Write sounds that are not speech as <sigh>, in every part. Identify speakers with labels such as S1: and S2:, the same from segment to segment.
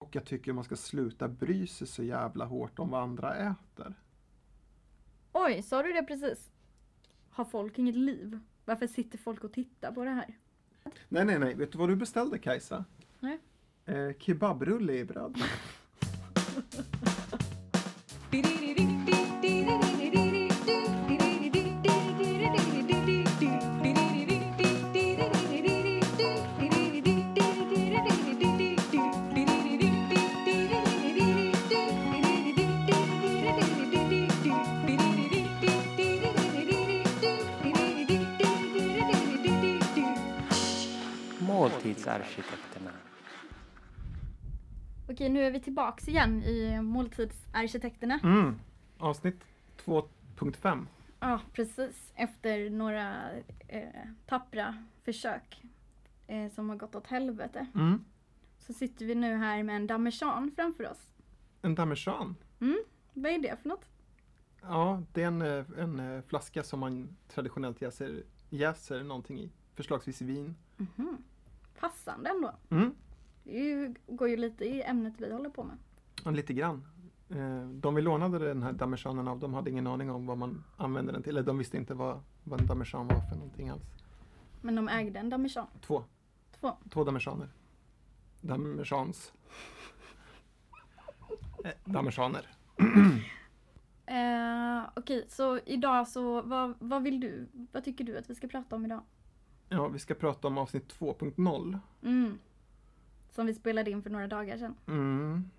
S1: Och jag tycker man ska sluta bry sig så jävla hårt om vad andra äter.
S2: Oj, sa du det precis? Har folk inget liv? Varför sitter folk och tittar på det här?
S1: Nej, nej, nej. Vet du vad du beställde Kajsa?
S2: Nej.
S1: Eh, kebabrulle i bröd.
S3: Måltidsarkitekterna.
S2: Okej, nu är vi tillbaks igen i måltidsarkitekterna.
S1: Mm. Avsnitt 2.5.
S2: Ja, precis. Efter några eh, tappra försök eh, som har gått åt helvete.
S1: Mm.
S2: Så sitter vi nu här med en damejeanne framför oss.
S1: En damejeanne.
S2: Vad är det för något?
S1: Ja, det är en, eh, en eh, flaska som man traditionellt jäser, jäser någonting i. Förslagsvis vin.
S2: Passande ändå.
S1: Mm.
S2: Det är ju, går ju lite i ämnet vi håller på med.
S1: Ja, Lite grann. Eh, De vi lånade den här damejeannen av, de hade ingen aning om vad man använde den till. Eller de visste inte vad, vad en damejeanne var för någonting alls.
S2: Men de ägde en damejeanne.
S1: Två.
S2: Två.
S1: Två damejeanner. Damejeans. Eh, Damejeanner.
S2: Eh, Okej, så idag så vad, vad vill du? Vad tycker du att vi ska prata om idag?
S1: Ja, vi ska prata om avsnitt 2.0.
S2: Mm. Som vi spelade in för några dagar sedan.
S1: Mm,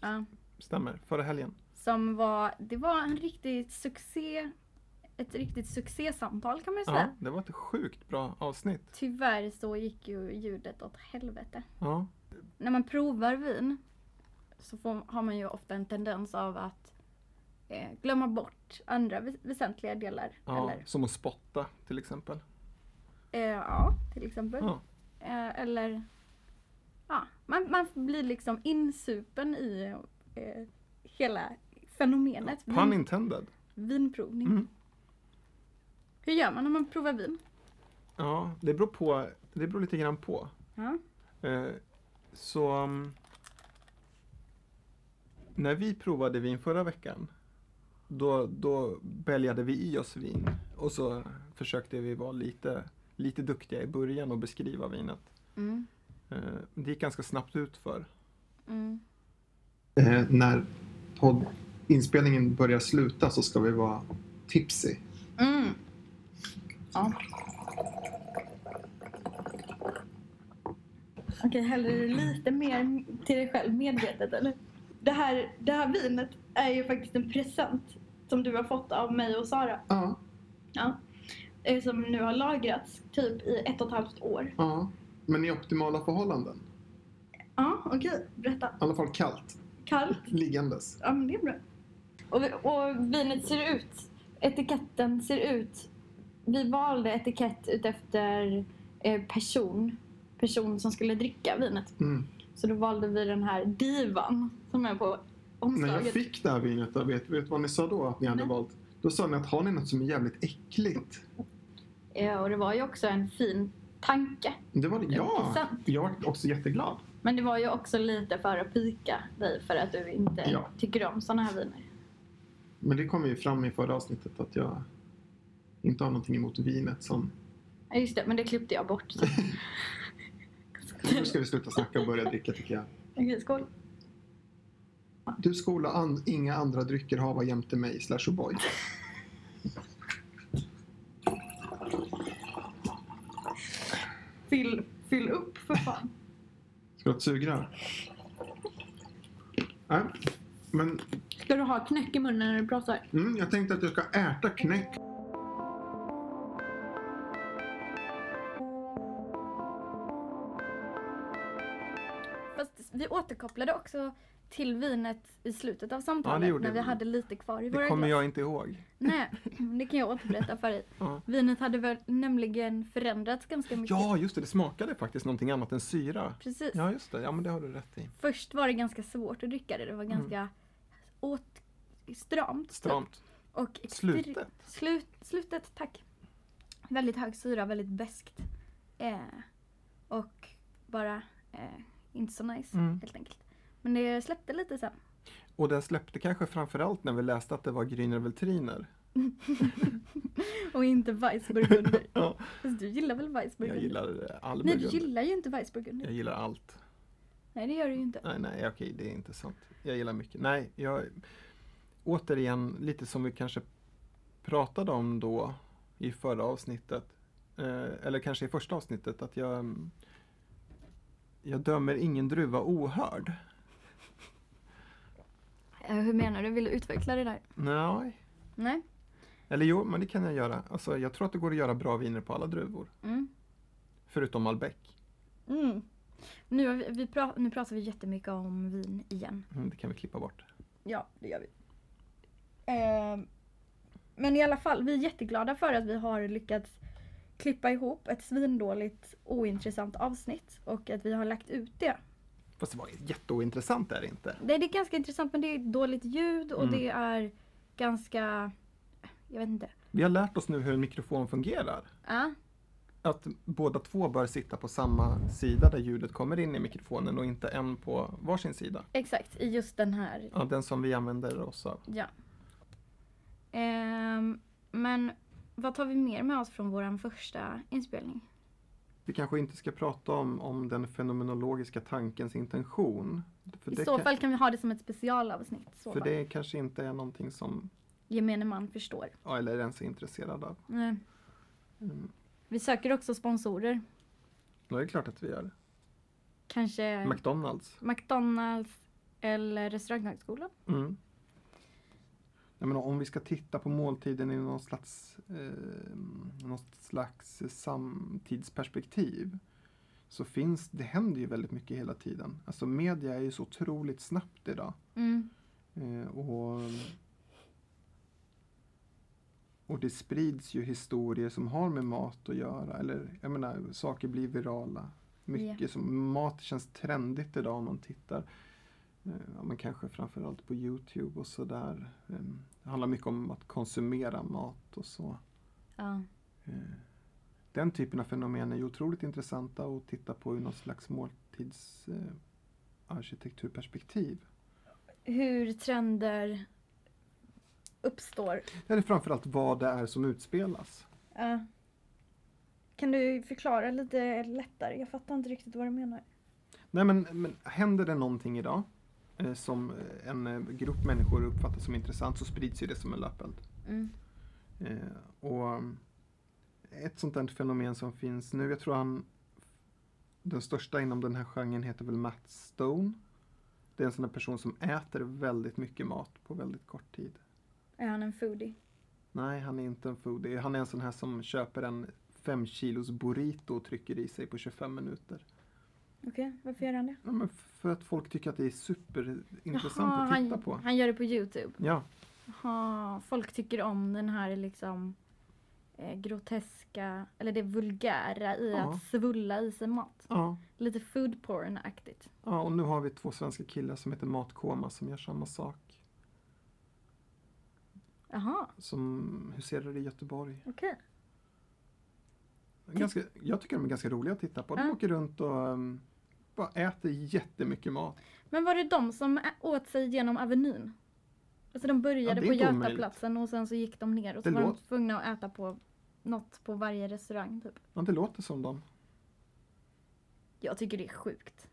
S2: Ja.
S1: stämmer. Förra helgen.
S2: Som var, det var en riktig succé, ett riktigt succésamtal kan man ju säga.
S1: Ja, det var ett sjukt bra avsnitt.
S2: Tyvärr så gick ju ljudet åt helvete.
S1: Ja,
S2: När man provar vin så får, har man ju ofta en tendens av att eh, glömma bort andra vä- väsentliga delar.
S1: ja
S2: Eller,
S1: som att spotta till exempel.
S2: eh, ja, till exempel.
S1: Ja,
S2: Eh, eller, ja, man, man blir liksom insupen i eh, hela fenomenet
S1: pun
S2: vin,
S1: intended.
S2: vinprovning.
S1: Mm.
S2: Hur gör man när man provar vin?
S1: Ja, det beror, på, det beror lite grann på.
S2: Ja.
S1: Eh, Så mm, när vi provade vin förra veckan då, då bälgade vi i oss vin och så försökte vi vara lite, lite duktiga i början och beskriva vinet.
S2: Mm.
S1: Eh, Det gick ganska snabbt ut för.
S2: Mm.
S1: Eh, När poddinspelningen börjar sluta så ska vi vara tipsy.
S2: Mm. Ja. Okej, häller du lite mer till dig själv medvetet eller? Det här, det här vinet är ju faktiskt en present som du har fått av mig och Sara.
S1: Ja,
S2: eh, Som nu har lagrats typ i ett och ett halvt år.
S1: ja. Men i optimala förhållanden.
S2: Ja, okej. Berätta.
S1: I alla fall kallt,
S2: Kallt?
S1: liggandes.
S2: Ja, men det är bra. Och, vi- och vinet ser ut, etiketten ser ut. Vi valde etikett utefter eh, person, person som skulle dricka vinet.
S1: Mm.
S2: Så då valde vi den här divan som är på
S1: När jag
S2: omslaget.
S1: fick det här vinet, då, vet vet vad ni sa då att ni hade
S2: Nej.
S1: valt? Då sa ni att har ni något som är jävligt äckligt?
S2: Eh, och det var ju också en fin tanke.
S1: Det var det, ja!
S2: Present.
S1: Jag var också jätteglad.
S2: Men det var ju också lite för att pika dig för att du inte
S1: Ja.
S2: tycker om sådana här viner.
S1: Men det kom ju fram i förra avsnittet att jag inte har någonting emot vinet som...
S2: Ja, Just det, men det klippte
S1: <laughs>
S2: jag bort.
S1: Nu ska vi sluta snacka och börja dricka tycker jag.
S2: Okej, skål.
S1: Du skola an, inga andra drycker hava jämte mig slash O'boy.
S2: Fyll, fyll upp för fan.
S1: Ska du ha ett sugrör? Nej, men
S2: Ska du ha knäck i munnen när du pratar?
S1: mm, jag tänkte att jag ska äta knäck.
S2: Fast vi återkopplade också till vinet i slutet av
S1: Ja,
S2: samtalet
S1: det gjorde
S2: när vi
S1: vi.
S2: hade lite kvar i våra glas.
S1: jag inte ihåg.
S2: Nej, det kan jag återberätta för dig.
S1: <laughs> Ja.
S2: Vinet hade väl nämligen förändrats ganska mycket.
S1: Ja, just det. Det smakade faktiskt någonting annat än syra.
S2: Precis.
S1: Ja, just det. Ja, men det har du rätt i.
S2: Först var det ganska svårt att dricka det. Det var ganska åt, stramt. typ.
S1: Mm. Stramt.
S2: Och extre-
S1: Slutet.
S2: Slut, slutet, tack. Väldigt hög syra, väldigt beskt. Eh, och bara eh, inte så nice
S1: Mm.
S2: helt enkelt. Men det släppte lite sen.
S1: Och den släppte kanske framförallt när vi läste att det var Grüner
S2: <laughs>
S1: Veltriner.
S2: Och inte Weissburgunder.
S1: Ja.
S2: Fast du gillar väl Weissburgunder?
S1: Jag gillar eh, all
S2: Nej, du
S1: burgunder.
S2: gillar ju inte Weissburgunder.
S1: Jag gillar allt.
S2: Nej, det gör du ju inte.
S1: Nej, nej, okej, det är inte sant. Jag gillar mycket. Nej, jag... Återigen, lite som vi kanske pratade om då i förra avsnittet. Eh, eller kanske i första avsnittet, att jag... mm, Jag dömer ingen druva ohörd.
S2: Eh, Hur menar du? Vill du utveckla det där?
S1: Nej.
S2: Nej.
S1: Eller jo, men det kan jag göra. Alltså, jag tror att det går att göra bra viner på alla druvor.
S2: Mm.
S1: Förutom Malbec.
S2: Mm. Nu, har vi, vi pra- nu pratar vi jättemycket om vin igen.
S1: Mm, Det kan vi klippa bort.
S2: Ja, det gör vi. Ehm, men i alla fall, vi är jätteglada för att vi har lyckats klippa ihop ett svindåligt ointressant avsnitt och att vi har lagt ut det.
S1: Fast det var jätteointressant är det inte.
S2: Nej, det är ganska intressant men det är dåligt ljud och
S1: Mm.
S2: det är ganska... Jag vet inte.
S1: Vi har lärt oss nu hur en mikrofon fungerar.
S2: Ja,
S1: att båda två bör sitta på samma sida där ljudet kommer in i mikrofonen och inte en på varsin sida.
S2: exakt. I just den här.
S1: Ja, den som vi använder oss av.
S2: Ja. Ehm, men vad tar vi mer med oss från vår första inspelning?
S1: Vi kanske inte ska prata om, om den fenomenologiska tankens intention. För
S2: I
S1: det,
S2: så
S1: kan,
S2: fall kan vi ha det som ett specialavsnitt. Så
S1: för
S2: fall.
S1: det kanske inte är någonting som,
S2: Gemene man förstår.
S1: ja, eller ens är intresserad av.
S2: Nej.
S1: Mm.
S2: Vi söker också sponsorer.
S1: Ja, det är klart att vi gör.
S2: Kanske
S1: McDonalds.
S2: McDonalds eller restauranghögskolan.
S1: Mm. Jag menar, om vi ska titta på måltiden i någon slags, eh, något slags samtidsperspektiv så finns, det händer ju väldigt mycket hela tiden. Alltså media är ju så otroligt snabbt idag.
S2: Mm.
S1: Eh, och, och det sprids ju historier som har med mat att göra. Eller jag menar, saker blir virala. Mycket som, mat känns trendigt idag om man tittar. Eh, ja, men kanske framförallt på Youtube och sådär. Eh, det handlar mycket om att konsumera mat och så.
S2: Ja.
S1: Eh, den typen av fenomen är ju otroligt intressanta att titta på ur något slags måltidsarkitekturperspektiv. Eh, arkitekturperspektiv.
S2: Hur trender uppstår.
S1: Eller framförallt vad det är som utspelas.
S2: Ja. Kan du förklara lite lättare? Jag fattar inte riktigt vad du menar.
S1: Nej men, men händer det någonting idag eh, som eh, en eh, grupp människor uppfattar som intressant så sprids ju det som en löpeld.
S2: Mm.
S1: Eh, och mm, ett sånt där fenomen som finns nu, jag tror han den största inom den här genren heter väl Matt Stone. Det är en sån där person som äter väldigt mycket mat på väldigt kort tid.
S2: Är han en foodie?
S1: Nej, han är inte en foodie. Han är en sån här som köper en 5 kilos burrito och trycker i sig på 25 minuter.
S2: Okej, varför gör han det?
S1: Ja, men för att folk tycker att det är superintressant
S2: Jaha,
S1: att titta
S2: han,
S1: på.
S2: Han gör det på Youtube.
S1: Ja,
S2: Jaha, folk tycker om den här liksom eh, groteska, eller det vulgära i
S1: Ja.
S2: att svulla i sig mat.
S1: ja,
S2: Lite food porn-aktigt.
S1: ja, och nu har vi två svenska killar som heter Matkoma som gör samma sak.
S2: Jaha,
S1: Som huserar i Göteborg.
S2: okej.
S1: Ganska, jag tycker de är ganska roliga att titta på. De
S2: Ja.
S1: åker runt och um, bara äter jättemycket mat.
S2: Men var det de som ä- åt sig genom Avenyn? Alltså de började
S1: Ja, det är
S2: på
S1: inte omöjligt.
S2: Götaplatsen och sen så gick de ner och så
S1: Det
S2: var de
S1: låter-
S2: tvungna att äta på något på varje restaurang typ.
S1: Ja, det låter som dem.
S2: Jag tycker det är sjukt.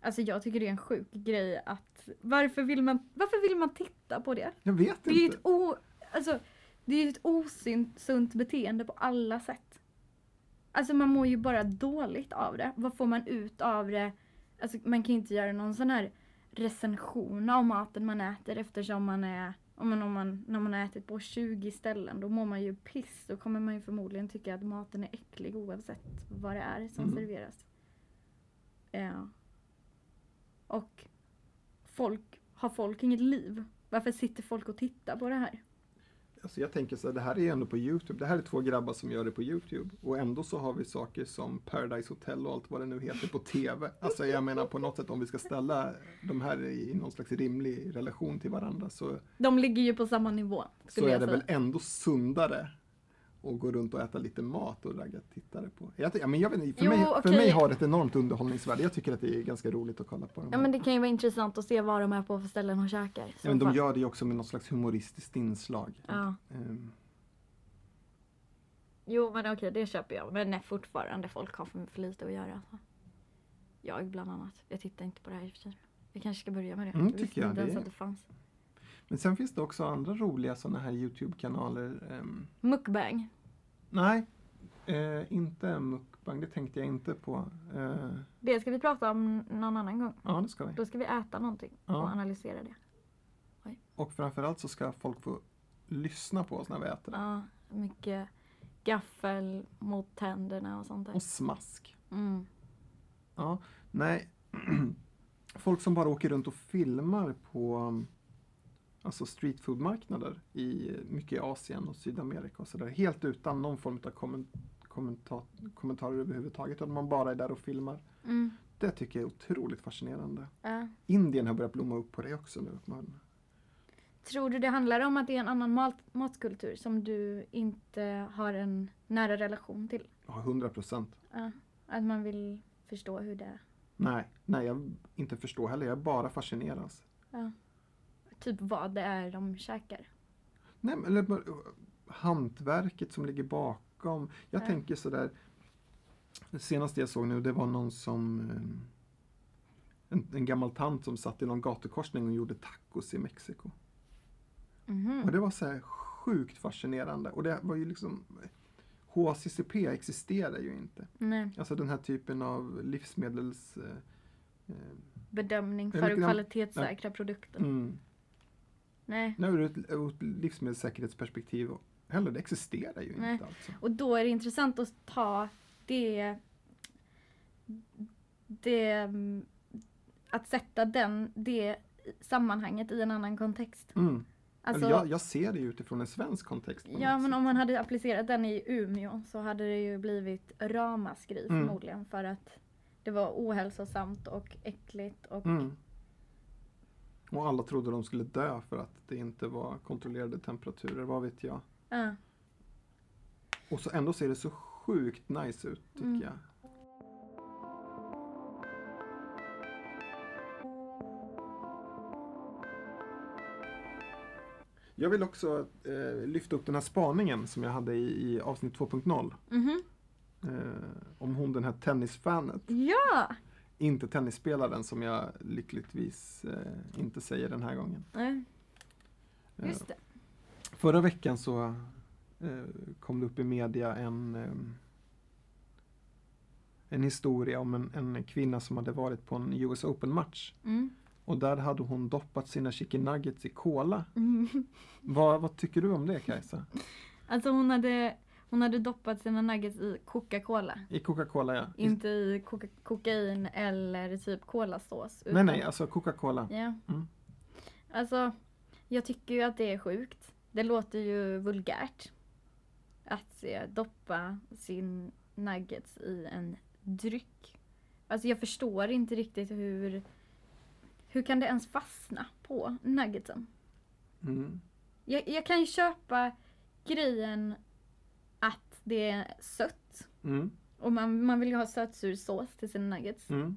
S2: Alltså jag tycker det är en sjuk grej att varför vill man, varför vill man titta på det?
S1: Jag vet
S2: Det är ju
S1: inte.
S2: ett, o, alltså, det är ju ett osunt beteende på alla sätt. Alltså man mår ju bara dåligt av det. Vad får man ut av det? Alltså man kan ju inte göra någon sån här recension av maten man äter eftersom man är, om man, om man, när man har ätit på 20 ställen då mår man ju piss. Då kommer man ju förmodligen tycka att maten är äcklig oavsett vad det är som
S1: Mm.
S2: serveras. Ja. Och folk, har folk inget liv? Varför sitter folk och tittar på det här?
S1: Alltså jag tänker så här, det här är ju ändå på Youtube. Det här är två grabbar som gör det på Youtube. Och ändå så har vi saker som Paradise Hotel och allt vad det nu heter på TV. Alltså jag menar på något sätt om vi ska ställa de här i någon slags rimlig relation till varandra så
S2: De ligger ju på samma nivå.
S1: så
S2: skulle
S1: är
S2: jag
S1: det
S2: säga.
S1: väl ändå sundare och gå runt och äta lite mat och ragga tittare på. Jag, ty- ja, men jag vet, inte, för,
S2: Jo,
S1: mig, för
S2: okej.
S1: mig har det ett enormt underhållningsvärde. Jag tycker att det är ganska roligt att kolla på dem.
S2: Ja men det kan ju vara intressant att se vad de är på för ställen och käkar.
S1: Ja, men de gör det ju också med något slags humoristiskt inslag.
S2: Ja.
S1: Ehm,
S2: Jo men okej det köper jag. Men nej, fortfarande folk har för, för lite att göra. Alltså. Jag bland annat. Jag tittar inte på det här i och för sig. Jag kanske ska börja med det.
S1: Mm,
S2: jag visste
S1: tycker jag.
S2: inte ens
S1: Det-
S2: att det fanns.
S1: Men sen finns det också andra roliga sådana här Youtube-kanaler. ehm,
S2: Mukbang.
S1: nej, eh, inte mukbang. Det tänkte jag inte på. Eh,
S2: Det ska vi prata om någon annan gång.
S1: ja, det ska vi.
S2: Då ska vi äta någonting
S1: Ja.
S2: och analysera det.
S1: Och framförallt så ska folk få lyssna på oss när vi äter. det.
S2: Ja, mycket gaffel mot tänderna och sånt där.
S1: Och smask.
S2: Mm.
S1: Ja, nej. <clears throat> Folk som bara åker runt och filmar på um, alltså streetfoodmarknader i mycket i Asien och Sydamerika och sådär. Helt utan någon form av kommen- kommenta- kommentarer överhuvudtaget. Utan man bara är där och filmar.
S2: Mm.
S1: Det tycker jag är otroligt fascinerande.
S2: Ja.
S1: Indien har börjat blomma upp på det också nu. Man,
S2: Tror du det handlar om att det är en annan mat- matkultur som du inte har en nära relation till?
S1: har 100 procent.
S2: Ja, att man vill förstå hur det är.
S1: Nej, nej, jag inte förstår heller. Jag bara fascineras.
S2: Typ vad det är de käkar.
S1: Nej, men, eller, bara, uh, hantverket som ligger bakom. Jag
S2: Ja.
S1: tänker sådär. Det senaste jag såg nu det var någon som eh, en, en gammal tant som satt i någon gatukorsning och gjorde tacos i Mexiko.
S2: Mhm.
S1: Och det var så här sjukt fascinerande. Och det var ju liksom HACCP existerar ju inte.
S2: Nej,
S1: Alltså den här typen av livsmedels... eh, eh,
S2: bedömning
S1: Det är
S2: för
S1: lite grann-
S2: kvalitetssäkra produkter.
S1: Mm.
S2: Nej.
S1: Nej, ur ett, ur ett livsmedelssäkerhetsperspektiv heller, det existerar ju
S2: Nej.
S1: inte alltså.
S2: Och då är det intressant att ta det... det att sätta den, det sammanhanget i en annan kontext.
S1: Mm.
S2: Alltså,
S1: Eller jag, jag ser det ju utifrån en svensk kontext. på
S2: Ja
S1: något
S2: men
S1: sätt.
S2: om man hade applicerat den i Umeå så hade det ju blivit ramaskri
S1: Mm.
S2: förmodligen för att det var ohälsosamt och äckligt och
S1: Mm. Och alla trodde de skulle dö för att det inte var kontrollerade temperaturer, vad vet jag.
S2: ja.
S1: Och så ändå ser det så sjukt nice ut tycker
S2: Mm.
S1: jag. Jag vill också eh, lyfta upp den här spaningen som jag hade i, i avsnitt 2.0.
S2: Mhm.
S1: Eh, om hon den här tennisfanet.
S2: Ja!
S1: Inte tennisspelaren som jag lyckligtvis eh, inte säger den här gången.
S2: Nej,
S1: Eh,
S2: Just det.
S1: Förra veckan så eh, kom det upp i media en, ehm, en historia om en, en kvinna som hade varit på en US Open-match.
S2: Mm. <laughs>
S1: Och där hade hon doppat sina chicken nuggets i cola.
S2: Mm.
S1: Vad, vad tycker du om det Kajsa?
S2: Alltså hon hade, hon hade doppat sina nuggets i Coca-Cola.
S1: I Coca-Cola ja. I,
S2: Inte i coca- kokain eller typ kolasås.
S1: nej, nej, alltså Coca-Cola.
S2: Ja.
S1: Mm.
S2: Alltså, jag tycker ju att det är sjukt. Det låter ju vulgärt. Att eh, doppa sin nuggets i en dryck. Alltså jag förstår inte riktigt hur... Hur kan det ens fastna på nuggetsen?
S1: Mm.
S2: Jag, jag kan ju köpa grejen att det är sött.
S1: Mm.
S2: Och man, man vill ju ha sötsur sås till sina nuggets.
S1: Mm.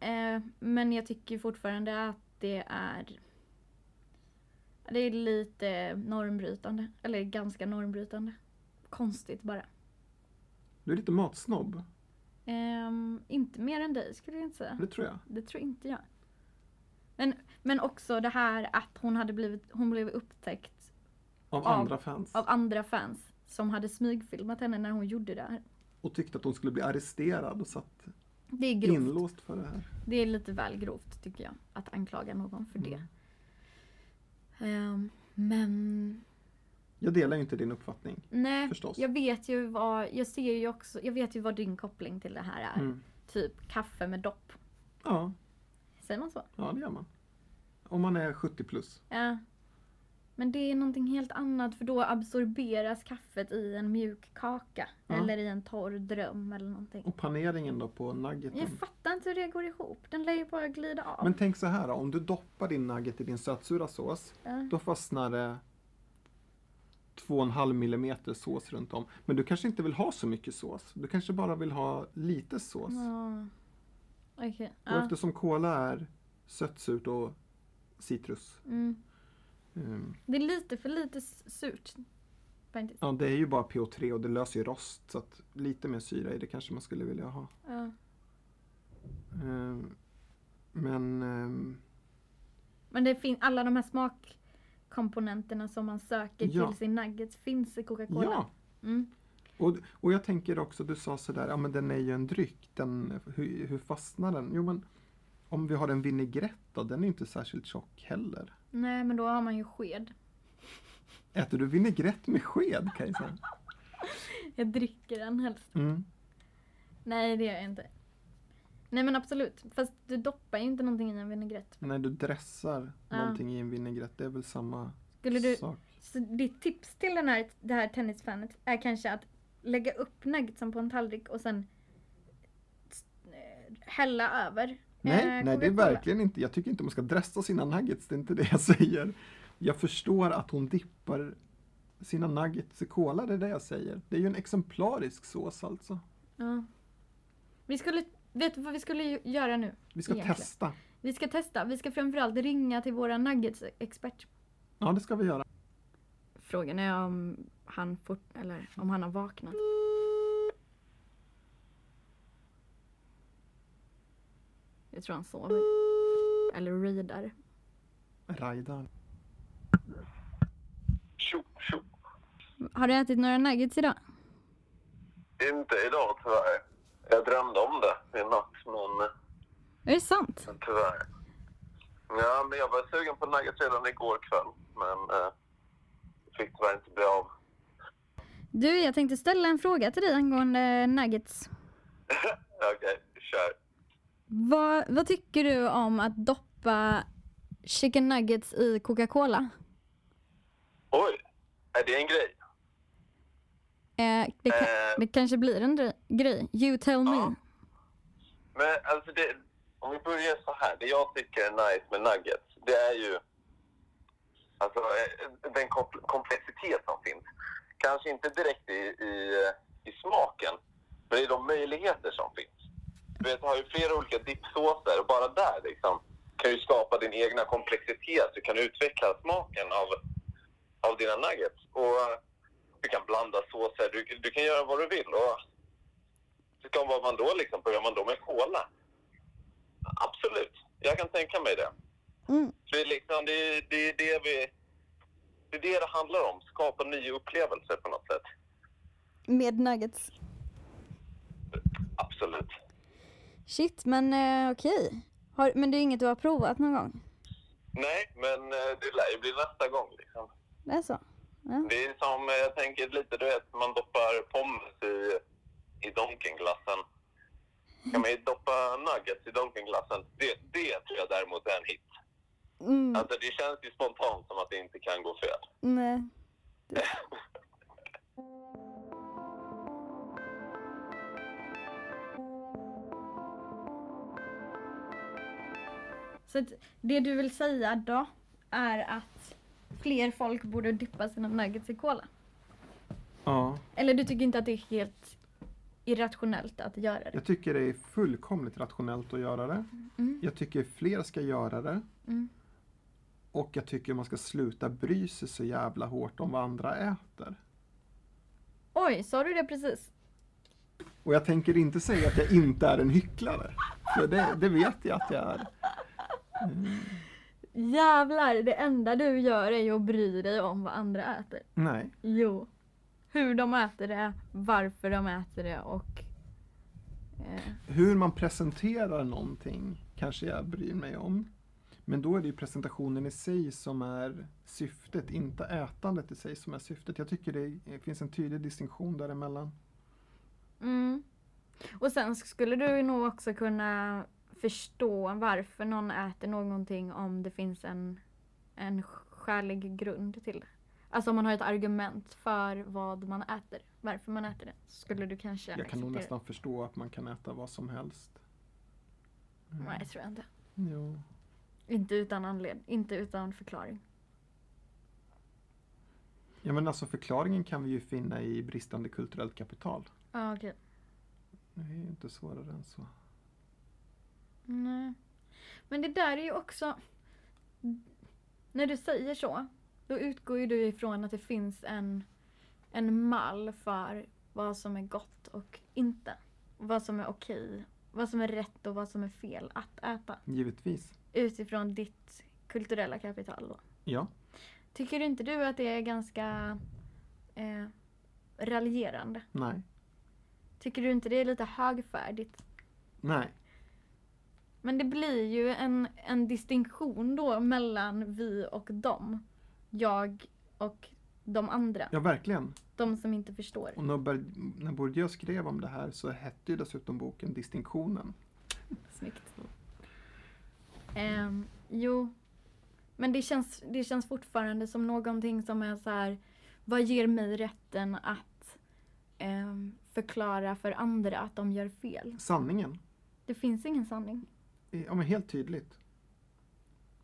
S2: Eh, men jag tycker fortfarande att det är det är lite normbrytande. Eller ganska normbrytande. Konstigt bara.
S1: Du är lite matsnobb,
S2: Ehm, inte mer än dig skulle jag inte säga.
S1: det tror jag.
S2: Det tror inte jag. Men, men också det här att hon, hade blivit, hon blev upptäckt
S1: Av
S2: Ja.
S1: andra fans.
S2: av andra fans som hade smygfilmat henne när hon gjorde det här.
S1: Och tyckte att hon skulle bli arresterad och satt
S2: Det är grovt.
S1: inlåst för det här.
S2: Det är lite väl grovt tycker jag. Att anklaga någon för det. Ehm, men
S1: Jag delar ju inte din uppfattning.
S2: Nej,
S1: Förstås.
S2: jag vet ju vad, jag ser ju också, jag vet ju vad din koppling till det här är.
S1: Mm.
S2: Typ kaffe med dopp.
S1: Ja,
S2: Säger man så?
S1: ja, det gör man. Om man är 70 plus.
S2: Ja. Men det är någonting helt annat för då absorberas kaffet i en mjuk kaka.
S1: Ja.
S2: Eller i en torr dröm eller någonting.
S1: Och paneringen då på nuggeten.
S2: Jag fattar inte hur det går ihop. Den lär ju bara glida av.
S1: Men tänk så här då, om du doppar din nugget i din sötsura sås,
S2: Ja.
S1: då fastnar det 2,5 millimeter sås runt om. Men du kanske inte vill ha så mycket sås. Du kanske bara vill ha lite sås.
S2: Ja. Okej.
S1: Och
S2: Ja.
S1: eftersom kola är sött, surt och citrus.
S2: Mm.
S1: ehm,
S2: Det är lite för lite s- surt. Faktiskt.
S1: ja, det är ju bara PO3 och det löser ju rost. Så att lite mer syra i det kanske man skulle vilja ha.
S2: Ja.
S1: Ehm, men ehm,
S2: Men det finns alla de här smakkomponenterna som man söker
S1: Ja.
S2: till sin nuggets finns i Coca-Cola.
S1: ja,
S2: Mm.
S1: Och, och jag tänker också, du sa sådär, ja men den är ju en dryck, den, hur, hur fastnar den? Jo men om vi har en vinägrett då, den är ju inte särskilt tjock heller.
S2: Nej men då har man ju sked.
S1: Äter du vinägrett med sked
S2: <laughs>
S1: Kajsa?
S2: Jag dricker den helst.
S1: Mm.
S2: Nej det gör jag inte. Nej men absolut. Fast du doppar ju inte någonting i en vinägrett.
S1: När du dressar
S2: Ja.
S1: någonting i en vinägrett, det är väl samma
S2: Skulle du,
S1: sak?
S2: så ditt tips till den här, det här tennisfanet är kanske att lägga upp nuggetsen på en tallrik och sen eh, hälla över.
S1: Nej, nej
S2: eh,
S1: det är
S2: Coca-Cola.
S1: verkligen inte, jag tycker inte man ska dressa sina nuggets, det är inte det jag säger. Jag förstår att hon dippar sina nuggets i cola, det är det jag säger. Det är ju en exemplarisk sås alltså.
S2: Ja. Vi skulle, vet du vad vi skulle ju- göra nu?
S1: Vi ska
S2: Egentligen.
S1: testa.
S2: Vi ska testa. Vi ska framförallt ringa till våra nuggets-expert.
S1: Ja, det ska vi göra.
S2: Frågan är om han fort, eller om han har vaknat. Jag tror han sover. Eller readar.
S1: Rajdar.
S4: Tjo, tjo.
S2: Har du ätit några nuggets idag?
S4: Inte idag tyvärr. Jag drömde om det i natt, men
S2: Är det sant?
S4: men tyvärr. Ja, men jag var sugen på nuggets redan igår kväll, men eh, fick tyvärr inte bli av.
S2: Du, jag tänkte ställa en fråga till dig angående nuggets.
S4: Okej, kör.
S2: Vad, vad tycker du om att doppa chicken nuggets i Coca-Cola?
S4: Oj, är det en grej?
S2: Eh, det, ka-
S4: Eh.
S2: det kanske blir en dre- grej. You tell me.
S4: Men alltså, det, om vi börjar så här. Det jag tycker är nice med nuggets, det är ju alltså, eh, den kom- komplexitet som finns. Kanske inte direkt i, i, eh, i smaken, men i de möjligheter som finns. Du vet, du har ju flera olika dippsåser och bara där liksom, kan du skapa din egna komplexitet. Du kan utveckla smaken av, av dina nuggets. Och eh, du kan blanda såser, du, du kan göra vad du vill. Och, Ska vad man då liksom? Börjar man då med cola? Absolut, jag kan tänka mig det.
S2: Mm.
S4: Det är liksom, det, är- det är det vi... Det är det det handlar om, skapa nya upplevelser på något sätt.
S2: Med nuggets.
S4: Absolut.
S2: Shit, men eh, okej. Har, men det är inget du har provat någon gång?
S4: Nej, men eh, det lär ju bli nästa gång liksom.
S2: Det är så? Ja.
S4: Det är som, eh, jag tänker lite, du vet, man doppar pommes i, i donkenglassen. Kan man ju doppa nuggets i donkenglassen. Det, det tror jag däremot är en hit.
S2: Mm,
S4: Alltså det känns ju spontant som att det inte kan gå fel.
S2: nej. Så att det du vill säga då är att fler folk borde dippa sina nuggets i cola?
S1: Ja.
S2: Eller du tycker inte att det är helt irrationellt att göra det?
S1: Jag tycker det är fullkomligt rationellt att göra det.
S2: Mm.
S1: Jag tycker fler ska göra det.
S2: Mm.
S1: Och jag tycker man ska sluta bry sig så jävla hårt om vad andra äter.
S2: Oj, sa du det precis?
S1: Och jag tänker inte säga att jag inte är en hycklare. För det, det vet jag att jag är.
S2: Jävlar, det enda du gör är ju att bry dig om vad andra äter.
S1: Nej.
S2: Jo. Hur de äter det, varför de äter det och... Eh,
S1: Hur man presenterar någonting kanske jag bryr mig om. Men då är det ju presentationen i sig som är syftet, inte ätandet i sig som är syftet. Jag tycker det finns en tydlig distinktion däremellan.
S2: mm. Och sen skulle du nog också kunna förstå varför någon äter någonting om det finns en, en skälig grund till det. Alltså om man har ett argument för vad man äter, varför man äter det, så skulle du kanske
S1: Jag kan nog
S2: acceptera
S1: nästan förstå att man kan äta vad som helst.
S2: det. Nej, tror jag inte.
S1: Jo.
S2: Inte utan anledning, inte utan förklaring.
S1: Ja men alltså förklaringen kan vi ju finna i bristande kulturellt kapital.
S2: Ja, okej.
S1: Det är ju inte svårare än så.
S2: Nej. Men det där är ju också... När du säger så, då utgår ju du ifrån att det finns en, en mall för vad som är gott och inte. Vad som är okej, vad som är rätt och vad som är fel att äta.
S1: Givetvis.
S2: Utifrån ditt kulturella kapital då.
S1: Ja.
S2: Tycker inte du att det är ganska eh, raljerande?
S1: Nej.
S2: Tycker du inte det är lite högfärdigt?
S1: Nej.
S2: Men det blir ju en, en distinktion då mellan vi och dem. Jag och de andra.
S1: Ja verkligen.
S2: De som inte förstår.
S1: Och när, Ber- när Bourdieu skrev om det här så hette ju dessutom boken Distinktionen.
S2: Snyggt. Ehm, jo. Men det känns, det känns fortfarande som någonting som är så här. Vad ger mig rätten att ehm, förklara för andra att de gör fel?
S1: Sanningen.
S2: Det finns ingen sanning.
S1: är- Ja men helt tydligt.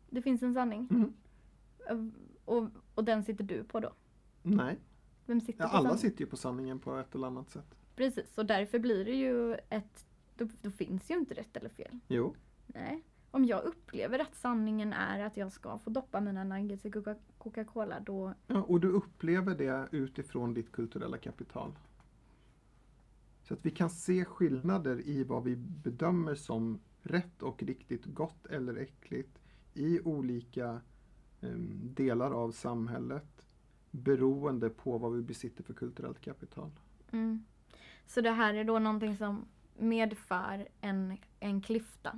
S2: Det finns en sanning.
S1: Mm.
S2: Och, och den sitter du på då?
S1: Nej.
S2: Vem sitter
S1: Ja,
S2: på
S1: alla
S2: sanningen?
S1: sitter ju på sanningen på ett eller annat sätt.
S2: Precis, och därför blir det ju ett... Då, då finns ju inte rätt eller fel.
S1: Jo.
S2: Nej. Om jag upplever att sanningen är att jag ska få doppa mina nuggets i Coca- Coca-Cola då...
S1: Ja, och du upplever det utifrån ditt kulturella kapital. Så att vi kan se skillnader i vad vi bedömer som rätt och riktigt, gott eller äckligt i olika em, delar av samhället beroende på vad vi besitter för kulturellt kapital.
S2: Mm. Så det här är då någonting som medför en, en klyfta.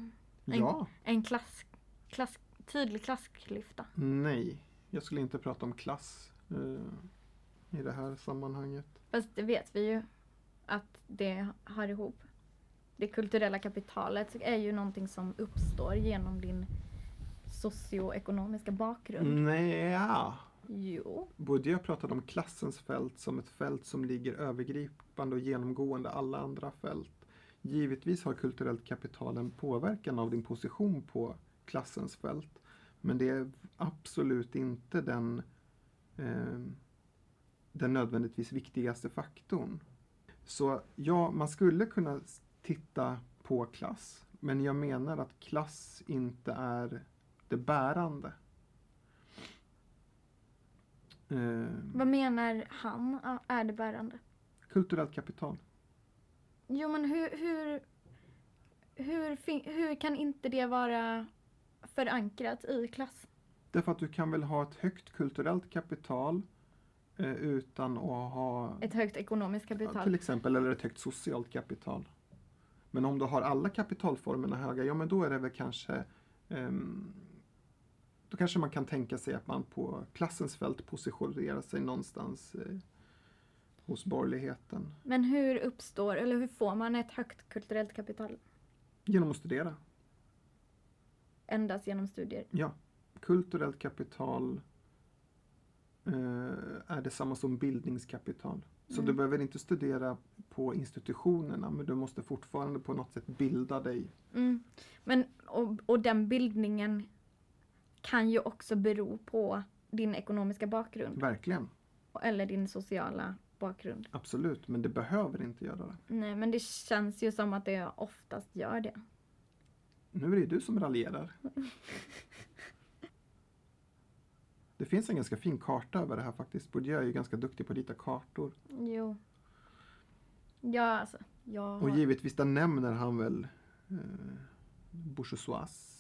S2: En,
S1: Ja,
S2: En klass, klass, tydlig klassklyfta.
S1: nej. Jag skulle inte prata om klass eh, i det här sammanhanget.
S2: Fast det vet vi ju att det hör ihop. Det kulturella kapitalet är ju någonting som uppstår genom din socioekonomiska bakgrund.
S1: Mm. Nej, ja.
S2: Jo.
S1: Bourdieu pratade om klassens fält som ett fält som ligger övergripande och genomgående alla andra fält. Givetvis har kulturellt kapital en påverkan av din position på klassens fält. Men det är absolut inte den, eh, den nödvändigtvis viktigaste faktorn. Så ja, man skulle kunna s- titta på klass. Men jag menar att klass inte är det bärande. Eh,
S2: Vad menar han a- är det bärande?
S1: Kulturellt kapital.
S2: Jo men hur, hur, hur, fin- hur kan inte det vara förankrat i klass?
S1: Därför att du kan väl ha ett högt kulturellt kapital eh, utan att ha
S2: Ett högt ekonomiskt
S1: ja, till
S2: kapital.
S1: exempel, eller ett högt socialt kapital. Men om du har alla kapitalformerna höga, ja men då är det väl kanske ehm, då kanske man kan tänka sig att man på klassens fält positionerar sig någonstans eh, hos borgerligheten.
S2: Men hur uppstår, eller hur får man ett högt kulturellt kapital?
S1: Genom att studera.
S2: Endast genom studier.
S1: Ja, kulturellt kapital eh, är detsamma som bildningskapital. Så
S2: Mm.
S1: du behöver inte studera på institutionerna men du måste fortfarande på något sätt bilda dig.
S2: Mm. Men, och, och den bildningen kan ju också bero på din ekonomiska bakgrund.
S1: Verkligen,
S2: Eller din sociala bakgrund.
S1: absolut. Men det behöver inte göra det.
S2: Nej, men det känns ju som att det oftast gör det.
S1: Nu är det ju du som raljerar. Det finns en ganska fin karta över det här faktiskt. Bourdieu är ju ganska duktig på att rita kartor.
S2: Jo. Ja, alltså. Jag
S1: Och
S2: har-
S1: givetvis där nämner han väl eh, bourgeois.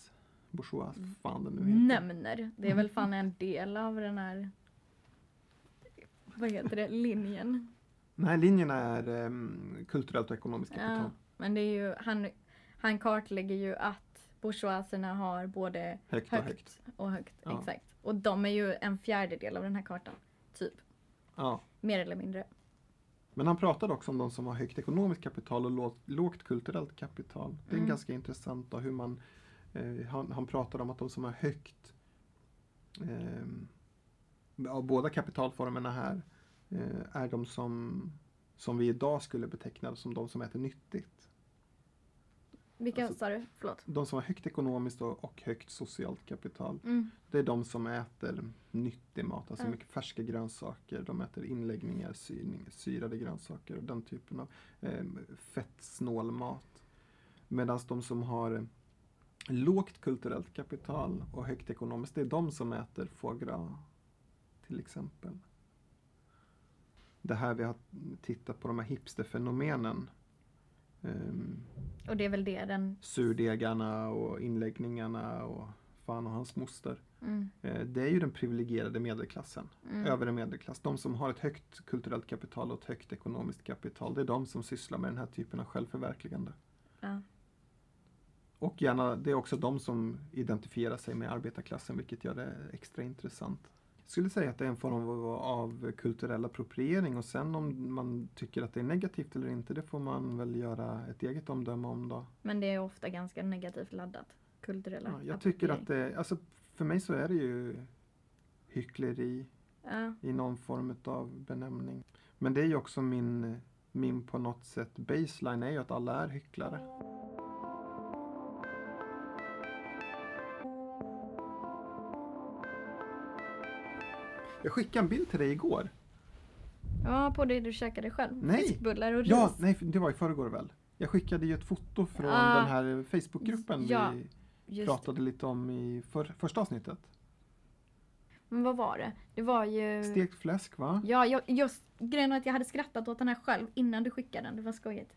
S1: Bourgeois, vad fan det nu
S2: Mm.
S1: heter.
S2: nämner. Det är väl fan en del av den här... Vad heter det? Linjen.
S1: Den här linjen är ehm, kulturellt och ekonomiskt kapital.
S2: Ja, men det är ju... Han, han kartlägger ju att bourgeoiserna har både
S1: Högt och
S2: högt,
S1: högt.
S2: och högt.
S1: Ja.
S2: Exakt. Och de är ju en fjärdedel av den här kartan. Typ.
S1: Ja.
S2: Mer eller mindre.
S1: Men han pratade också om de som har högt ekonomiskt kapital och lå- lågt kulturellt kapital. Det är
S2: Mm.
S1: ganska intressant då hur man... Eh, han, han pratade om att de som har högt... ehm, ja, båda kapitalformerna här eh, är de som, som vi idag skulle beteckna som de som äter nyttigt.
S2: Vilka
S1: Alltså-
S2: sa du? Förlåt.
S1: De som har högt ekonomiskt och, och högt socialt kapital.
S2: Mm.
S1: Det är de som äter nyttig mat, alltså
S2: Ja.
S1: mycket färska grönsaker. De äter inläggningar, syrning, syrade grönsaker och den typen av eh, fettsnål mat. Medan de som har eh, lågt kulturellt kapital och högt ekonomiskt, det är de som äter foie gras till exempel. Det här vi har tittat på, de här hipsterfenomenen. Ehm,
S2: Och det är väl det den...
S1: surdegarna och inläggningarna och fan och hans moster.
S2: Mm.
S1: Eh, Det är ju den privilegierade medelklassen,
S2: Mm.
S1: övre medelklass. De som har ett högt kulturellt kapital och ett högt ekonomiskt kapital. Det är de som sysslar med den här typen av självförverkligande.
S2: Ja.
S1: Och gärna, det är också de som identifierar sig med arbetarklassen vilket gör det extra intressant. Jag skulle säga att det är en form av, av kulturell appropriering och sen om man tycker att det är negativt eller inte det får man väl göra ett eget omdöme om då.
S2: Men det är ofta ganska negativt laddat. Kulturella
S1: Ja, jag tycker att
S2: appropriering.
S1: det, alltså för mig så är det ju hyckleri
S2: Ja.
S1: i någon form av benämning. Men det är ju också min, min på något sätt baseline är ju att alla är hycklare. Jag skickade en bild till dig igår.
S2: ja, på det du käkade själv.
S1: Nej.
S2: Fiskbullar och ris.
S1: Ja, nej, det var i förrgår väl. Jag skickade ju ett foto från
S2: Ah.
S1: den här Facebookgruppen
S2: Ja,
S1: vi
S2: Just det.
S1: pratade lite om i för, första avsnittet.
S2: Men vad var det? Det var ju...
S1: Stekt fläsk va?
S2: Ja, jag, jag, grejen var att jag hade skrattat åt den här själv innan du skickade den. Det var skojigt.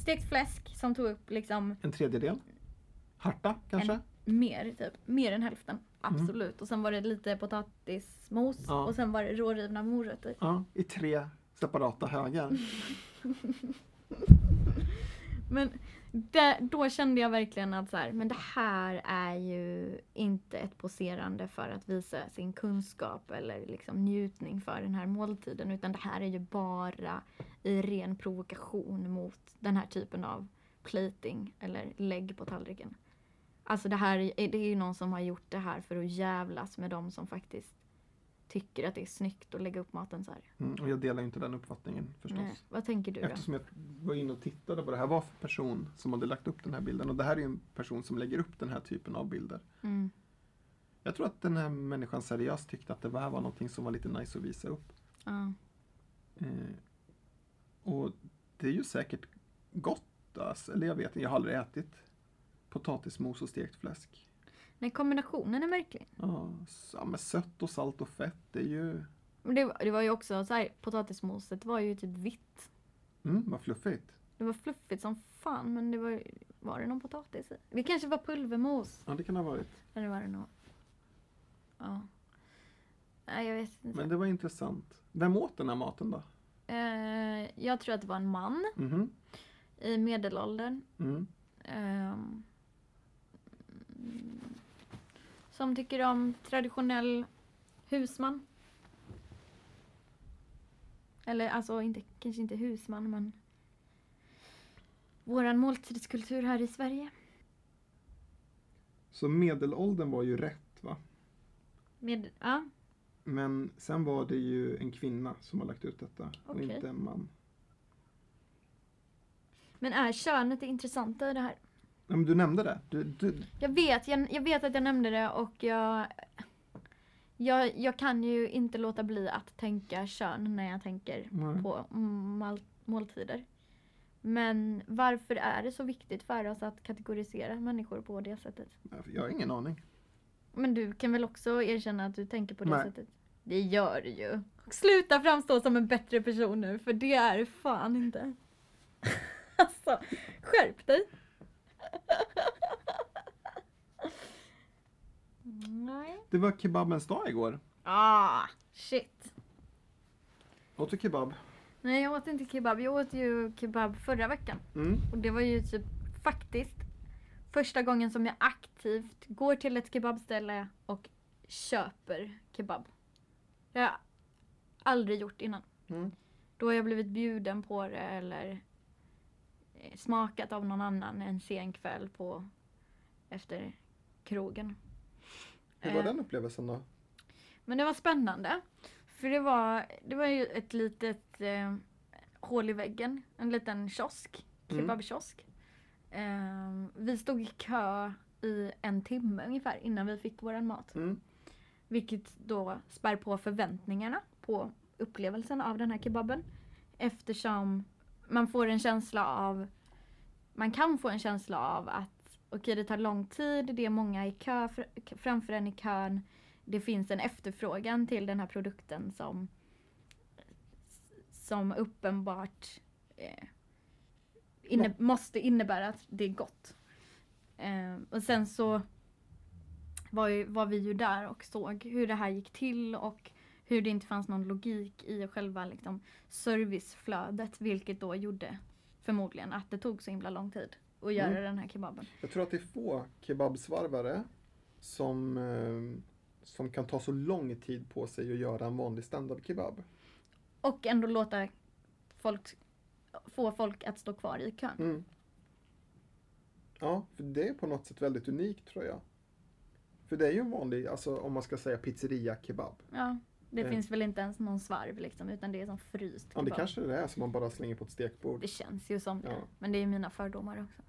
S2: Stekt fläsk som tog upp liksom
S1: En tredjedel? Harta kanske?
S2: mer, typ. Mer än hälften.
S1: Mm.
S2: Absolut. Och sen var det lite potatismos
S1: Ja.
S2: och sen var det rårivna morötter.
S1: Ja, i tre separata högar.
S2: Men det, då kände jag verkligen att så här, men det här är ju inte ett poserande för att visa sin kunskap eller liksom njutning för den här måltiden. Utan det här är ju bara i ren provokation mot den här typen av plating eller lägg på tallriken. Alltså det här är, det är ju någon som har gjort det här för att jävlas med de som faktiskt tycker att det är snyggt att lägga upp maten så här.
S1: Mm, och jag delar ju inte den uppfattningen förstås.
S2: Nej, vad tänker du då?
S1: Eftersom jag var inne och tittade vad det här var för person som hade lagt upp den här bilden. Och det här är ju en person som lägger upp den här typen av bilder.
S2: Mm.
S1: Jag tror att den här människan seriöst tyckte att det här var någonting som var lite nice att visa upp.
S2: Ja.
S1: Eh, och det är ju säkert gott. Alltså. Eller jag vet inte, jag har aldrig ätit potatismos och stekt fläsk.
S2: Nej, kombinationen är märklig.
S1: Ja, s- ja, men sött och salt och fett, det är ju...
S2: Men det, var- det var ju också så här, potatismoset var ju typ vitt.
S1: Mm, vad fluffigt.
S2: Det var fluffigt som fan men det var ju- var det någon potatis i? Det kanske var pulvermos.
S1: Ja, det kan ha varit.
S2: Eller var det nog... Ja. Nej jag vet inte.
S1: Men det var intressant. Vem åt den här maten då?
S2: Eh, jag tror att det var en man
S1: Mhm.
S2: i medelåldern.
S1: Mm.
S2: ehm, som tycker om traditionell husman. Eller alltså inte, kanske inte husman men våran måltidskultur här i Sverige.
S1: Så medelåldern var ju rätt va?
S2: Med, ja,
S1: Men sen var det ju en kvinna som har lagt ut detta och
S2: Okej.
S1: inte en man.
S2: men är könet det intressanta i det här?
S1: Ja, men du nämnde det. Du, du,
S2: Jag vet, jag, jag vet att jag nämnde det och jag, jag jag kan ju inte låta bli att tänka kön när jag tänker
S1: nej.
S2: på mal- måltider. Men varför är det så viktigt för oss att kategorisera människor på det sättet?
S1: jag har ingen aning.
S2: Men du kan väl också erkänna att du tänker på det
S1: Nej.
S2: sättet? Det gör du ju. Sluta framstå som en bättre person nu, för det är du fan inte. <laughs> alltså, skärp dig. Nej.
S1: Det var kebabens dag igår.
S2: Ah, shit.
S1: Åt du kebab?
S2: Nej, jag åt inte kebab. Jag åt ju kebab förra veckan.
S1: Mm.
S2: Och det var ju typ faktiskt första gången som jag aktivt går till ett kebabställe och köper kebab. Det har jag aldrig gjort innan.
S1: Mm.
S2: Då har jag blivit bjuden på det eller eh, smakat av någon annan en sen kväll på efter krogen.
S1: Hur var
S2: Eh,
S1: den upplevelsen då?
S2: men det var spännande. För det var, det var ju ett litet eh, hål i väggen. En liten kiosk.
S1: Mm.
S2: Kebabkiosk. Ehm, vi stod i kö i en timme ungefär innan vi fick våran mat.
S1: Mm.
S2: Vilket då spär på förväntningarna på upplevelsen av den här kebaben. Eftersom man får en känsla av, man kan få en känsla av att okej det tar lång tid, det är många i kö, fr- framför en i kön. Det finns en efterfrågan till den här produkten som, som uppenbart eh, inne, måste innebära att det är gott. Eh, och sen så var, ju, var vi ju där och såg hur det här gick till och hur det inte fanns någon logik i själva liksom, serviceflödet vilket då gjorde förmodligen att det tog så himla lång tid att göra
S1: Mm.
S2: den här kebaben.
S1: Jag tror att det är få kebabsvarvare som, eh, som kan ta så lång tid på sig att göra en vanlig standardkebab.
S2: Och ändå låta folk, få folk att stå kvar i kön.
S1: Mm. Ja, för det är på något sätt väldigt unikt tror jag. För det är ju en vanlig, alltså om man ska säga pizzeria-kebab.
S2: Ja, det
S1: Eh.
S2: finns väl inte ens någon svarv liksom utan det är som fryst
S1: Ja,
S2: kebab.
S1: det kanske det är som man bara slänger på ett stekbord.
S2: Det känns ju som det.
S1: Ja.
S2: Men det är mina fördomar också.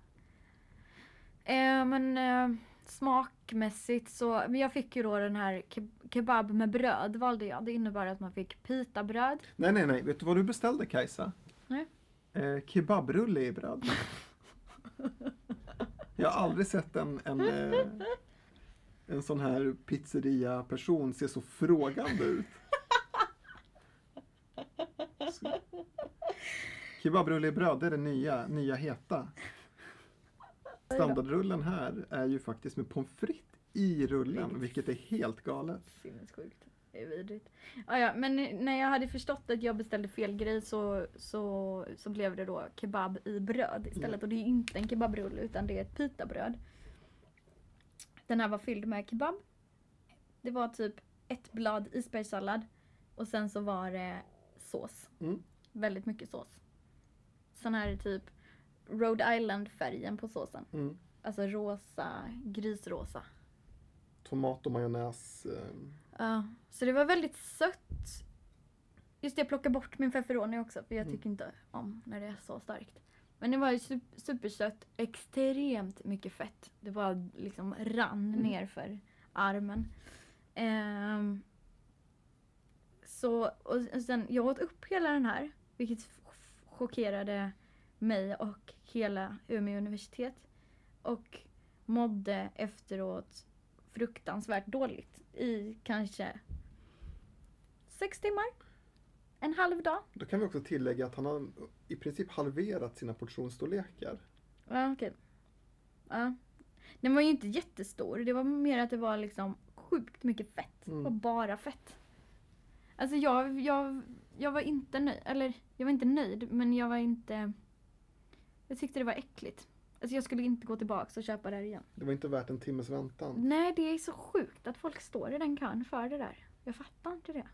S2: Eh, men eh, smakmässigt så, men jag fick ju då den här ke- kebab med bröd valde jag. Det innebar att man fick pitabröd.
S1: Nej, nej, nej. Vet du vad du beställde Kajsa?
S2: Nej.
S1: Eh, kebabrulle i bröd. Jag har aldrig sett en, en, eh, en sån här pizzeria-person se så frågande ut. Så- Kebabrulle i bröd, det är det nya, nya heta. Standardrullen här är ju faktiskt med pommes frites i rullen, vilket är helt galet.
S2: Sinnessjukt. Det är vidrigt. Ah, ja, men när jag hade förstått att jag beställde fel grej så, så, så blev det då kebab i bröd istället. Och det är inte en kebabrulle utan det är ett pitabröd. Den här var fylld med kebab. Det var typ ett blad isbergssallad och sen så var det sås.
S1: Mm.
S2: Väldigt mycket sås. Sån här typ Rhode Island-färgen på såsen.
S1: Mm.
S2: Alltså rosa, grisrosa.
S1: Tomat och majonnäs. Eh,
S2: Ja, så det var väldigt sött. Just det, jag plockade bort min feferoni också för jag
S1: Mm.
S2: tycker inte om när det är så starkt. Men det var ju sup- supersött, extremt mycket fett. Det bara liksom rann nerför ner för armen. Ehm, så, och sen, jag åt upp hela den här, vilket f- chockerade mig och hela Umeå universitet. Och mådde efteråt fruktansvärt dåligt i kanske sex timmar. En halv dag.
S1: Då kan vi också tillägga att han har i princip halverat sina portionsstorlekar.
S2: Ja, okej. Ja. Den var ju inte jättestor. Det var mer att det var liksom sjukt mycket fett.
S1: Mm.
S2: Det var bara fett. Alltså jag, jag, jag var inte nöjd. Eller jag var inte nöjd men jag var inte... Jag tyckte det var äckligt. Alltså jag skulle inte gå tillbaka och köpa det här igen.
S1: Det var inte värt en timmes väntan.
S2: Nej, det är så sjukt att folk står i den kön för det där. Jag fattar inte det.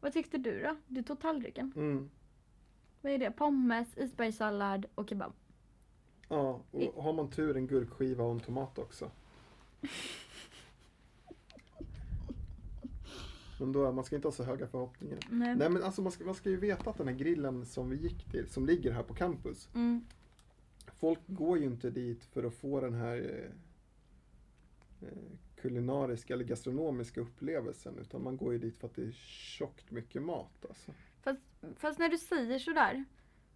S2: Vad tyckte du då? Du tog tallriken.
S1: Mm.
S2: Vad är det? Pommes, isbergssallad och kebab.
S1: Ja, och har man tur en gurkskiva och en tomat också. Men då, man ska inte ha så höga förhoppningar.
S2: Nej.
S1: Nej men alltså man ska, man ska ju veta att den här grillen som vi gick till, som ligger här på campus.
S2: Mm.
S1: Folk går ju inte dit för att få den här eh, eh, kulinariska eller gastronomiska upplevelsen. Utan man går ju dit för att det är tjockt mycket mat alltså.
S2: Fast, fast när du säger sådär,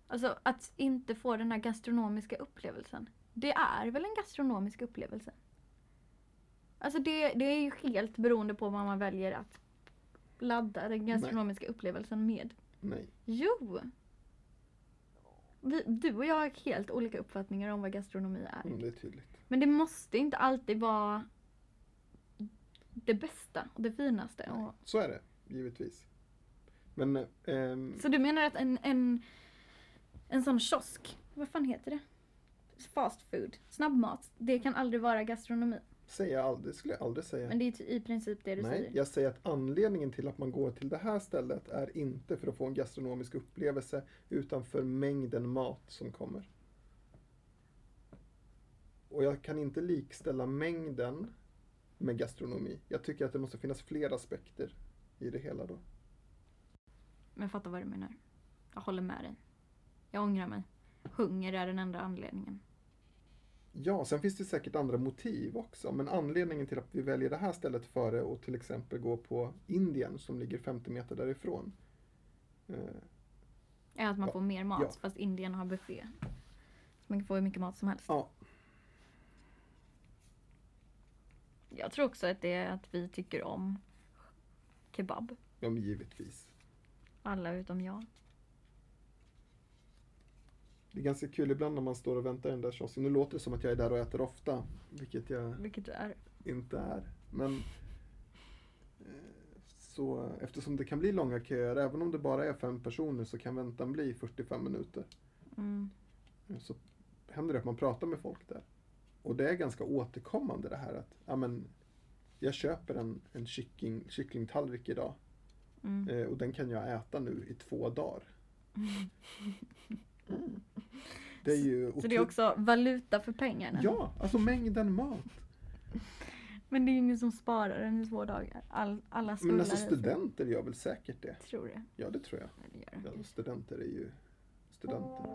S2: alltså att inte få den här gastronomiska upplevelsen. Det är väl en gastronomisk upplevelse? Alltså det, det är ju helt beroende på vad man väljer att ladda den gastronomiska upplevelsen med.
S1: Nej.
S2: Jo! Vi, du och jag har helt olika uppfattningar om vad gastronomi är.
S1: Mm, det är tydligt.
S2: Men det måste inte alltid vara det bästa och det finaste.
S1: Nej.
S2: Och,
S1: Så är det, givetvis. Men eh, ehm,
S2: så du menar att en, en, en sån kiosk, vad fan heter det? Fast food, snabbmat, det kan aldrig vara gastronomi.
S1: säger jag aldrig, skulle jag aldrig säga.
S2: Men det är ju i princip det du
S1: Nej,
S2: säger.
S1: jag säger att anledningen till att man går till det här stället är inte för att få en gastronomisk upplevelse utan för mängden mat som kommer. Och jag kan inte likställa mängden med gastronomi. Jag tycker att det måste finnas fler aspekter i det hela då.
S2: Men jag fattar vad du menar. Jag håller med dig. Jag ångrar mig. hunger är den enda anledningen.
S1: Ja, sen finns det säkert andra motiv också. Men anledningen till att vi väljer det här stället före och till exempel gå på Indien som ligger 50 meter därifrån. Eh,
S2: Är att man
S1: Ja.
S2: får mer mat
S1: Ja.
S2: fast Indien har buffé. Så man kan få hur mycket mat som helst.
S1: ja,
S2: Jag tror också att det är att vi tycker om kebab.
S1: ja, men givetvis.
S2: Alla utom jag.
S1: Det är ganska kul ibland när man står och väntar i den där kiosken. Nu låter det som att jag är där och äter ofta, vilket jag
S2: Vilket är...
S1: inte är. Men eh, så, eftersom det kan bli långa köer, även om det bara är fem personer så kan väntan bli 45 minuter.
S2: Mm.
S1: Så händer det att man pratar med folk där. Och det är ganska återkommande det här att ja, men, jag köper en, en kyckling, kycklingtallrik idag
S2: Mm.
S1: eh, och den kan jag äta nu i två
S2: <laughs>
S1: dagar. Det är ju
S2: Så det är
S1: otro-
S2: också valuta för pengarna.
S1: Ja, alltså mängden mat.
S2: Men det är ju ingen som sparar den i två dagar. All, alla
S1: Men alltså
S2: smugglar det.
S1: studenter gör väl säkert det.
S2: Tror det.
S1: Ja, det tror jag.
S2: Eller gör det.
S1: Ja, studenter är ju studenter.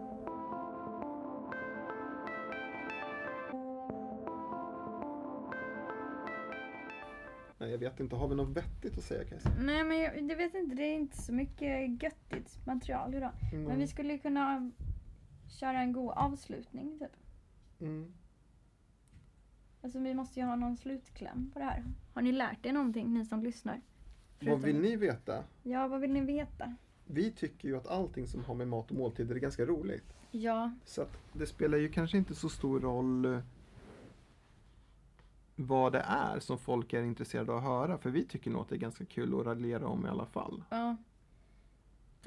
S1: Nej, jag vet inte. Har vi något vettigt att säga Kajsa?
S2: Nej men jag, jag vet inte, det är inte så mycket göttigt material idag.
S1: Mm.
S2: Men vi skulle ju kunna köra en god avslutning typ.
S1: Mm.
S2: Alltså vi måste ju ha någon slutkläm på det här. Har ni lärt er någonting ni som lyssnar?
S1: Vad
S2: Förutom-
S1: vill ni veta?
S2: Ja, vad vill ni veta?
S1: Vi tycker ju att allting som har med mat och måltider är ganska roligt.
S2: Ja,
S1: Så att det spelar ju kanske inte så stor roll eh, vad det är som folk är intresserade av att höra. För vi tycker nog att det är ganska kul att raljera om i alla fall.
S2: ja.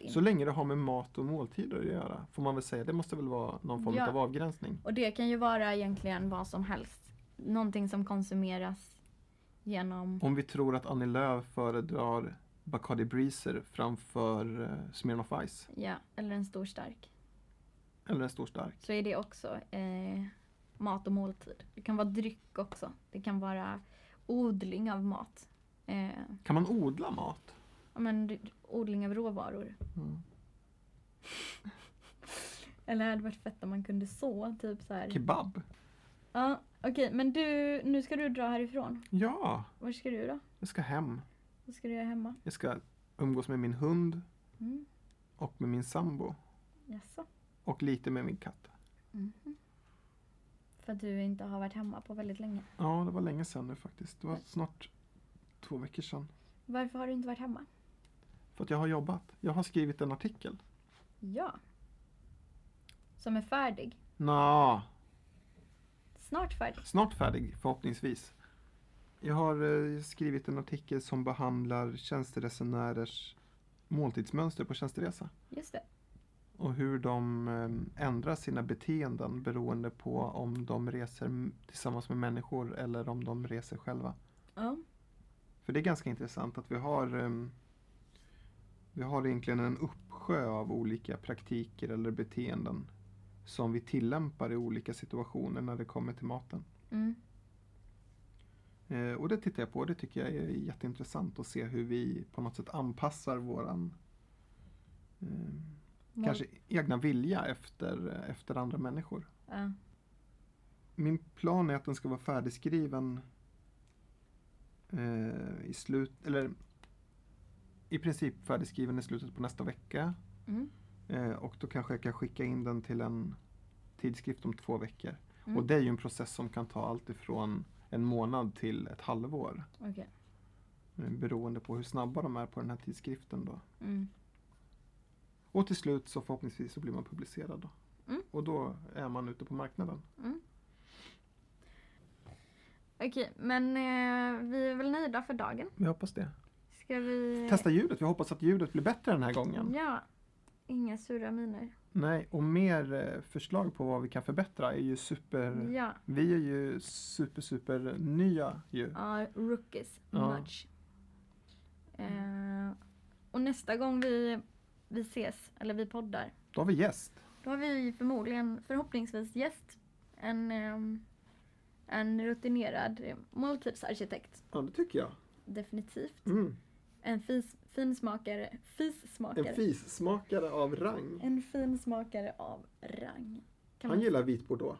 S1: Så länge det har med mat och måltider att göra, får man väl säga. Det måste väl vara någon form
S2: Ja.
S1: av avgränsning.
S2: Och det kan ju vara egentligen vad som helst. Någonting som konsumeras genom...
S1: Om vi tror att Annie Lööf föredrar Bacardi Breezer framför eh, Smirnoff Ice,
S2: Ja, eller en stor stark.
S1: eller en stor stark.
S2: Så är det också eh, mat och måltid. Det kan vara dryck också. Det kan vara odling av mat. Eh,
S1: Kan man odla mat?
S2: ja, men, d- odling av råvaror.
S1: Mm.
S2: Eller hade det varit fett om man kunde så, typ så här.
S1: Kebab?
S2: Ja, okej, men du, nu ska du dra härifrån.
S1: Ja,
S2: Var ska du då?
S1: jag ska hem.
S2: Vad ska du göra hemma?
S1: Jag ska umgås med min hund
S2: Mm.
S1: och med min sambo
S2: Jaså?
S1: och lite med min katt.
S2: För att du inte har varit hemma på väldigt länge.
S1: Ja, det var länge sedan nu faktiskt. Det var snart två veckor sedan.
S2: Varför har du inte varit hemma?
S1: För att jag har jobbat. Jag har skrivit en artikel.
S2: Ja. Som är färdig.
S1: Nå,
S2: Snart färdig.
S1: snart färdig förhoppningsvis. Jag har eh, skrivit en artikel som behandlar tjänsteresenärers måltidsmönster på tjänsteresa.
S2: Just det.
S1: Och hur de eh, ändrar sina beteenden beroende på om de reser m- tillsammans med människor eller om de reser själva.
S2: Ja.
S1: För det är ganska intressant att vi har ehm, vi har egentligen en uppsjö av olika praktiker eller beteenden som vi tillämpar i olika situationer när det kommer till maten.
S2: Mm.
S1: Eh, Och det tittar jag på och det tycker jag är jätteintressant att se hur vi på något sätt anpassar våran ehm,
S2: Mål-
S1: kanske egna vilja efter, efter andra människor.
S2: Ja.
S1: Min plan är att den ska vara färdigskriven eh, i slut, eller i princip färdigskriven i slutet på nästa vecka.
S2: Mm.
S1: Eh, och då kanske jag kan skicka in den till en tidskrift om två veckor.
S2: Mm.
S1: Och det är ju en process som kan ta allt ifrån en månad till ett halvår.
S2: Okej.
S1: eh, Beroende på hur snabba de är på den här tidskriften då.
S2: Mm.
S1: Och till slut så förhoppningsvis så blir man publicerad då.
S2: Mm.
S1: Och då är man ute på marknaden.
S2: Okej, men eh, vi är väl nöjda för dagen.
S1: Vi hoppas det.
S2: Ska vi...
S1: Testa ljudet, vi hoppas att ljudet blir bättre den här gången.
S2: Ja. Inga sura miner.
S1: Nej, och mer eh, förslag på vad vi kan förbättra är ju super...
S2: Ja.
S1: Vi är ju super, super nya ju.
S2: Ja, rookies.
S1: Ja.
S2: Much. Eh, och nästa gång vi, vi ses, eller vi poddar,
S1: Då har vi gäst.
S2: Då har vi förmodligen, förhoppningsvis, gäst. En, ehm, en rutinerad eh, måltidsarkitekt.
S1: Ja, det tycker jag.
S2: Definitivt.
S1: Mm.
S2: En fis, fin smakare, fissmakare.
S1: En fissmakare av rang.
S2: En fin smakare av rang. Kan
S1: Han
S2: man...
S1: gillar vit bordeaux.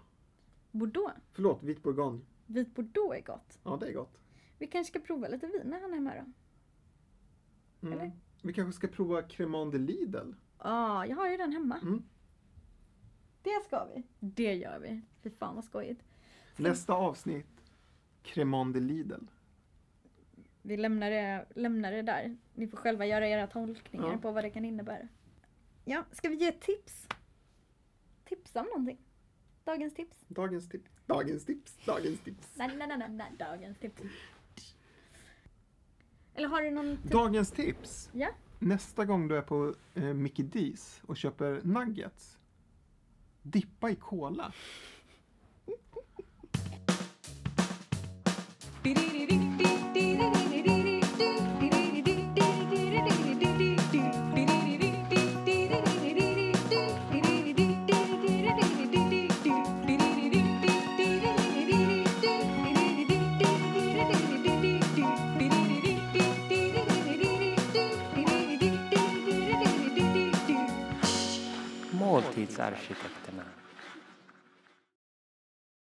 S2: Bordeaux.
S1: Förlåt, vit bourgogne.
S2: Vit bordeaux är gott.
S1: Ja, det är gott.
S2: Vi kanske ska prova lite vin när han är hemma då?
S1: Mm.
S2: Eller?
S1: Vi kanske ska prova Cremant de Lidl.
S2: Ja, jag har ju den hemma.
S1: Mm.
S2: Det ska vi. Det gör vi. Fy fan vad skojigt.
S1: Nästa avsnitt, Cremant de Lidl.
S2: Vi lämnar det, lämnar det där. Ni får själva göra era tolkningar
S1: Ja.
S2: på vad det kan innebära. Ja, ska vi ge ett tips? Tipsa om någonting. Dagens tips.
S1: Dagens tips, dagens tips, dagens tips.
S2: Nej, nej, nej, nej, nej. Dagens tips. Eller har du någon tips?
S1: Dagens tips!
S2: Ja.
S1: Nästa gång du är på eh, Mickey D's och köper nuggets, dippa i cola.
S3: Måltidsarkitekterna.